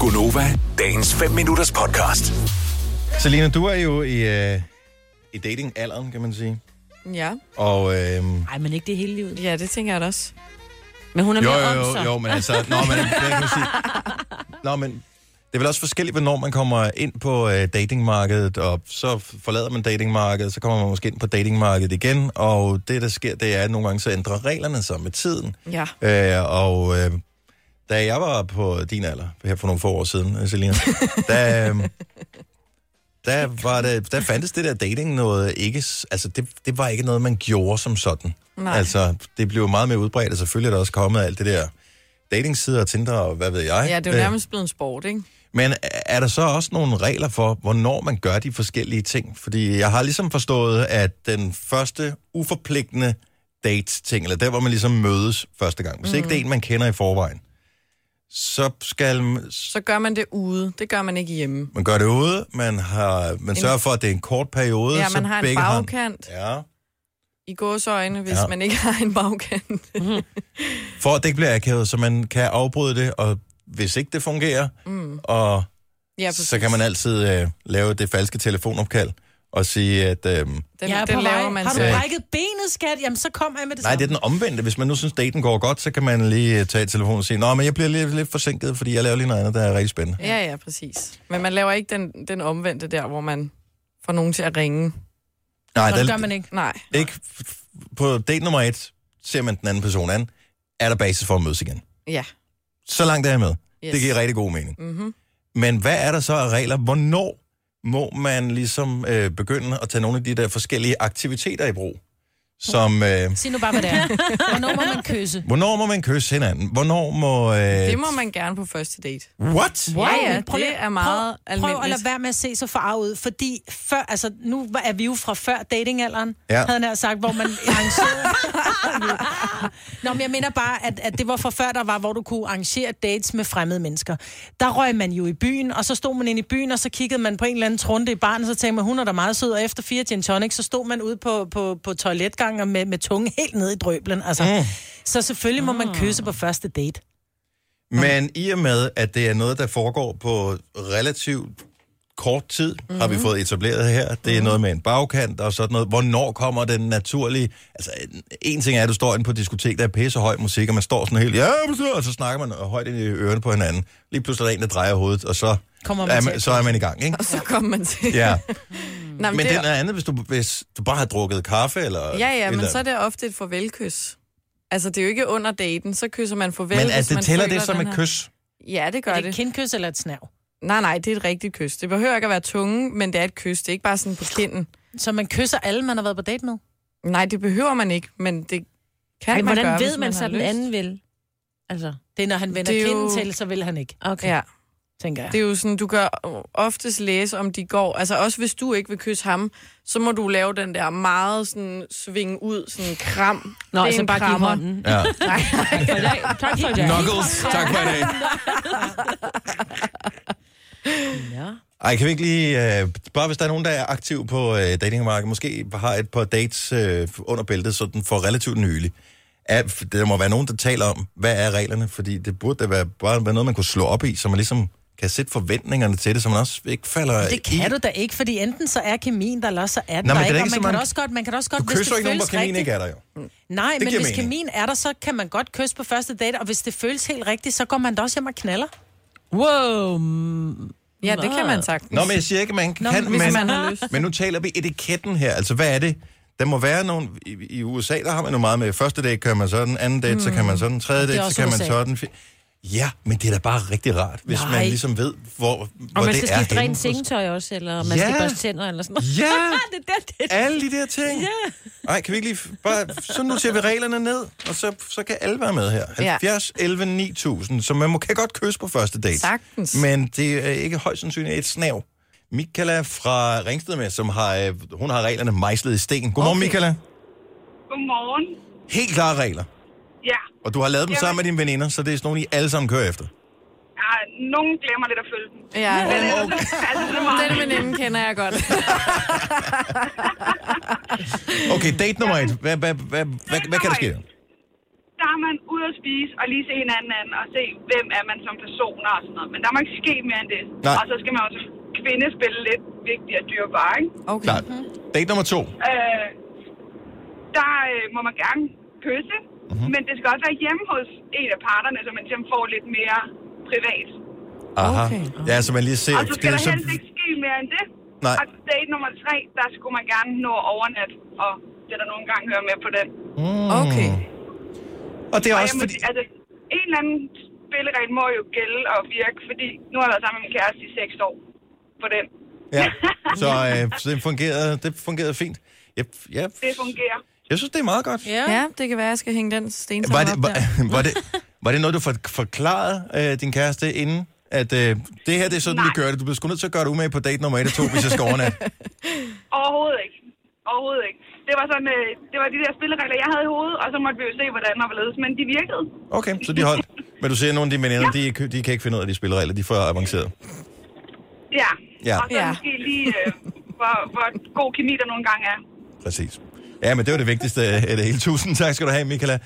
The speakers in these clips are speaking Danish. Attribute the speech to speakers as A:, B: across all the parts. A: Gunova, dagens 5 minutters podcast.
B: Selina, du er jo i, øh, i datingalderen, kan man sige.
C: Ja.
B: Og øh,
D: Nej, men ikke det hele livet.
C: ja, det tænker jeg da også. Men hun er
B: jo,
C: mere
B: jo,
C: om
B: jo,
C: sig.
B: jo, men altså, nå, men, det kan man sige. Nå, men det er vel også forskelligt, hvornår man kommer ind på øh, datingmarkedet, og så forlader man datingmarkedet, så kommer man måske ind på datingmarkedet igen, og det, der sker, det er, at nogle gange så ændrer reglerne sig med tiden.
C: Ja.
B: Øh, og øh, da jeg var på din alder, her for nogle få år siden, øh, Selina, der, øh, der, var det, der fandtes det der dating noget ikke... s- Altså, det, det var ikke noget, man gjorde som sådan.
C: Nej.
B: Altså, det blev meget mere udbredt, og selvfølgelig er der også kommet alt det der datingsider og Tinder og hvad ved jeg.
C: Ja, det er jo
B: Øh,
C: nærmest blevet en sport, ikke?
B: men er der så også nogle regler for, hvornår man gør de forskellige ting? Fordi jeg har ligesom forstået, at den første uforpligtende date-ting, eller der, hvor man ligesom mødes første gang, hvis mm. ikke det er en, man kender i forvejen, så skal m- s-
C: Så gør man det ude. Det gør man ikke hjemme.
B: man gøre det ude, man, har, man sørger for, at det er en kort periode,
C: Ja,
B: så
C: man har en
B: begge har
C: bagkant
B: Ja,
C: i gåseøjne, hvis
B: Ja.
C: ja. man ikke har en bagkant.
D: Mhm.
B: for at det ikke bliver akavet, så man kan afbryde det, og hvis ikke det fungerer, mm. og
C: ja,
B: ja,
C: præcis.
B: så kan man altid øh, lave det falske telefonopkald og sige, at... Øh,
C: Den,
D: jeg er
C: den
D: på
C: laver
D: vej.
C: man
D: har du
C: selv.
D: brækket benet, skat? Jamen, så kommer jeg med det
B: Nej, det er
D: samme.
B: den omvendte. Hvis man nu synes, daten går godt, så kan man lige øh, tage telefonen og sige, Nå, men jeg bliver lidt, lidt forsinket, fordi jeg laver lige noget andet, der er rigtig spændende.
C: Ja, ja, præcis. Men man laver ikke den, den omvendte der, hvor man får nogen til at ringe.
B: Nej,
D: Nå, det
B: der-
D: gør man ikke.
C: Nej.
B: ikke. f- f- På date nummer et ser man den anden person an. Er der basis for at mødes igen?
C: Ja.
B: Så langt er jeg med.
C: Yes.
B: Det giver rigtig god mening. Mm-hmm. Men hvad er der så af regler? Hvornår må man ligesom øh, begynde at tage nogle af de der forskellige aktiviteter i brug? Som, øh,
D: Sig nu bare, hvad det er. Hvornår må man kysse?
B: hvornår må man kysse hinanden? Hvornår må... Øh,
C: Det må man gerne på første date.
B: What?
C: Ja, ja,
D: men
C: det
D: lige-
C: er meget
D: prøv, prøv at
C: almindeligt.
D: lade være med at se så farvet ud, fordi før, altså, nu var- er vi jo fra før datingalderen,
B: Ja.
D: ja. havde jeg nær sagt, hvor man arrangerede. Nå, men jeg mener bare, at, at det var fra før, der var, hvor du kunne arrangere dates med fremmede mennesker. Der røg man jo i byen, og så stod man inde i byen, og så kiggede man på en eller anden trunde i barn, og så tænkte man, hun er da meget sød, og efter fire gin tonic, så stod man ude på, på, på toiletgangen og med, med tunge helt ned i drøblen. Altså.
B: Mm.
D: Så selvfølgelig må
C: Ah.
D: man kysse på første date.
B: Men i og med, at det er noget, der foregår på relativt kort tid, mm-hmm.
C: Mhm.
B: har vi fået etableret her. Det er mm-hmm. noget med en bagkant og sådan noget. Hvornår kommer den naturlige... Altså, en- en ting er, at du står inde på et diskotek, der er pissehøj musik, og man står sådan helt... Ja, og så snakker man højt ind i ørerne på hinanden. Lige pludselig er der en, der drejer hovedet, og så,
D: Kommer man
B: er,
D: til
B: man,
D: at
B: så er man i gang, ikke?
C: Og så kommer man til.
B: Ja,
C: Nej,
B: men det er
C: er-
B: noget andet, hvis du, hvis du bare har drukket kaffe, eller...
C: Ja, ja,
B: eller,
C: men så er det ofte et farvelkys. Altså, det er jo ikke under daten, så kysser man farvel,
B: Men
C: hvis
B: at det
C: man
B: tæller
C: føler
B: det som
C: den
B: et
C: her-
B: kys.
C: Ja, det gør
D: Er
C: det.
D: det et kindkys eller et snav?
C: Nej, nej, det er et rigtigt kys. Det behøver ikke at være tunge, men det er et kys. Det er ikke bare sådan på kinden.
D: Så man kysser alle, man har været på date med?
C: Nej, det behøver man ikke, men det kan
E: Men
C: man
E: hvordan
C: gøre,
E: ved
C: hvis
E: man så,
C: har
E: den
C: lyst.
E: anden vil? Altså,
D: Det er, når han vender
C: Det er
D: kinden
C: jo-
D: til, så vil han ikke,
E: okay.
C: Ja,
D: tænker jeg.
C: det er jo sådan, du gør oftest læse, om de går. Altså også hvis du ikke vil kysse ham, så må du lave den der meget sådan svinge ud, sådan kram.
E: Nå,
C: Det er
E: altså
C: en
E: bare give
C: krammer.
E: hånden.
B: Ja.
E: Nej, for i dag. tak for i dag.
B: Knuckles, tak for i dag.
E: Ja.
B: Ej, kan vi ikke lige, øh, bare hvis der er nogen, der er aktiv på øh, datingmarkedet, måske har et par dates øh, under bæltet, så den får relativt nylig. Er, f- der må være nogen, der taler om, hvad er reglerne, fordi det burde da være, bare være noget, man kunne slå op i, så man ligesom kan sætte forventningerne til det, så man også ikke falder
D: Det
B: i.
D: kan du da ikke, fordi enten så er kemien der, eller også så er den
B: Nå, men
D: der
B: det er
D: ikke,
B: ikke
D: og
B: så
D: man
B: mange-
D: kan da også godt, man kan da også godt,
B: Du
D: hvis
B: kysser
D: det
B: ikke nogen, hvor
D: føles
B: kaminen
D: rigtigt.
B: ikke er der jo.
D: Nej, men
B: giver mening.
D: hvis kemien er der, så kan man godt kysse på første date, og hvis det føles helt rigtigt, så går man da også hjem og knaller.
E: Wow.
C: Ja, det kan man sagtens.
B: Nå, men jeg siger ikke, man kan,
D: Nå, men
B: men,
D: hvis
C: man har lyst.
B: men nu taler vi etiketten her. Altså, hvad er det? Der må være nogle... I, I USA, der har man jo meget med. Første date kører man sådan, anden date, mm. så kan man sådan, tredje date, så
D: også
B: kan man
D: USA.
B: sådan. fi- Ja, men det er da bare rigtig rart, hvis Nej.
D: Nej.
B: man ligesom ved, hvor, hvor
E: Og man
B: det
E: skal
B: er
E: skifte
B: henne
E: rent
B: hos-
E: sengetøj også, eller man
B: Ja.
E: skal børste tænder, eller sådan noget.
B: Ja,
E: Det er det, det.
B: alle de der ting. Ja. Ej, kan vi ikke lige f- bare... Så nu ser vi reglerne ned, og så, så kan alle være med her.
C: Ja.
B: 70, 11, 9000. Så man må, kan godt kysse på første date.
C: Sagtens.
B: Men det er ikke højst sandsynligt et snav. Michaela fra Ringsted med, som har, øh, hun har reglerne mejslet i sten. Godmorgen, okay. Michaela.
F: Godmorgen.
B: Helt klare regler.
F: Ja.
B: Og du har lavet dem
F: Jamen.
B: sammen med dine veninder, så det er sådan nogle, I alle sammen kører efter.
F: ja, nogen glemmer lidt at følge dem.
C: Ja, den,
F: Altså, det er meget.
C: den veninde kender jeg godt.
B: Okay, date nummer et. Hvad, hvad, hvad, hvad, hvad kan der ske?
F: Der tager man ud og spise og lige se hinanden an og se, hvem er man som person og sådan noget. Men der må ikke ske mere end det.
B: Nej.
F: Og så skal man også kvindespille lidt vigtigt og dyrbar, ikke?
C: Okay.
B: Klart. Date nummer to.
F: Øh, der øh, må man gerne kysse,
B: Mhm.
F: mm-hmm. men det skal også være hjemme hos en af parterne, så man ligesom får lidt mere privat.
B: Aha.
C: Okay.
B: Ja, så man lige ser...
F: Og så skal
B: det
F: der
B: er så-
F: helst ikke ske mere end det.
B: Nej.
F: Og date nummer tre, der skulle man gerne nå overnat, og det er der nogle gange hører med på den.
C: Okay.
B: Og det er
F: Og
B: også
F: jeg må,
B: fordi...
F: sige, altså, en eller anden spilleregel må jo gælde og virke, fordi nu har jeg været sammen med min kæreste i seks år på den.
B: Ja. Så, øh, så det, fungerede, det fungerede fint. Jeg, jeg,
F: Det fungerer.
B: jeg synes, det er meget godt.
C: Ja, det kan være, jeg skal hænge den sten
B: Var
C: op
B: det,
C: der.
B: var, var, det, var det noget, du for, forklarede øh, din kæreste inden? At øh, det her, det er sådan, Nej.
F: Nej.
B: vi gør det. Du bliver sgu nødt til at gøre det umage på date nummer 1 og 2, hvis jeg skal overnatte.
F: Overhovedet ikke. Overhovedet ikke. Det var, sådan, øh, det var de der spilleregler, jeg havde i hovedet, og så måtte vi jo se, hvordan og hvorledes, men de virkede.
B: Okay, så de holdt. Men du ser, at nogle af de veninder, ja. de, de kan ikke finde ud af de spilleregler. De er for avanceret.
F: Ja.
B: Ja.
F: Og så
C: Ja.
F: måske lige, øh, hvor, hvor god kemi der nogle gange er.
B: Præcis. Ja, men det var det vigtigste af det hele. Tusind tak skal du have, Michaela.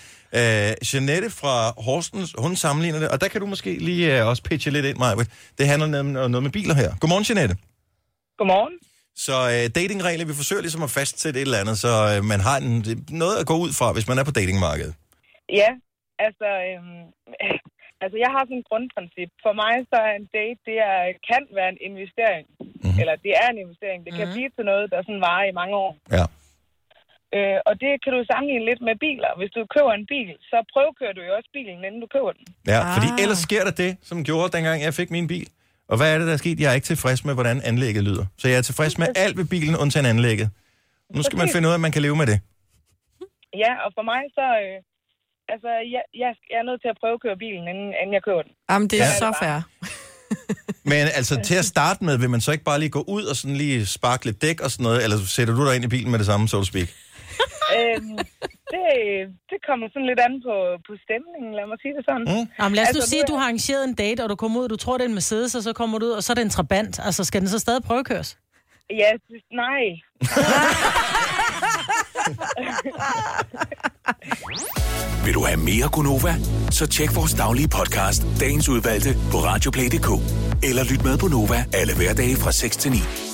B: Øh, Jeanette fra Horsens, hun sammenligner det, og der kan du måske lige øh, også pitche lidt ind, Maja. Det handler nemlig om noget med biler her. Godmorgen, Jeanette.
F: Godmorgen.
B: Så øh, datingregler, vi forsøger ligesom at fastsætte et eller andet, så øh, man har en, noget at gå ud fra, hvis man er på datingmarkedet.
G: Ja, altså, øhm, altså jeg har sådan et grundprincip. For mig så er en date, det er, kan være en investering. Mm-hmm. Eller det er en investering. Det mm-hmm. kan blive til noget, der sådan varer i mange år.
B: Ja.
G: Øh, og det kan du sammenligne lidt med biler. Hvis du køber en bil, så prøvekører du jo også bilen, inden du køber den.
B: ja ah.
C: Ah.
B: Fordi ellers sker der det, som gjorde dengang jeg fik min bil. Og hvad er det, der er sket? Jeg er ikke tilfreds med, hvordan anlægget lyder. Så jeg er tilfreds med alt ved bilen, undtagen anlægget. Nu skal man
G: Præcis.
B: finde ud af, at man kan leve med det.
G: Ja, og for mig så... Øh, altså, jeg, jeg, jeg er nødt til at prøvekøre bilen, inden, inden jeg køber den.
C: Jamen, det er
B: Ja.
C: så fair.
B: Men altså, til at starte med, vil man så ikke bare lige gå ud og sådan lige sparke lidt dæk og sådan noget, eller sætter du dig ind i bilen med det samme, så to speak?
G: øhm, det, det kommer sådan lidt an på, på stemningen, lad mig sige det sådan.
B: Mm.
D: Jamen, lad os altså,
G: Altså,
D: nu
G: nu
D: sige, at
G: er-
D: du har arrangeret en date, og du kommer ud, og du tror, det er en Mercedes, og så kommer du ud, og så er det en Trabant. Altså, skal den så stadig prøvekøres?
G: Ja, det- nej.
A: Vil du have mere Gunova? Så tjek vores daglige podcast, dagens udvalgte, på radioplay.dk. Eller lyt med på Nova alle hverdage fra 6 til 9.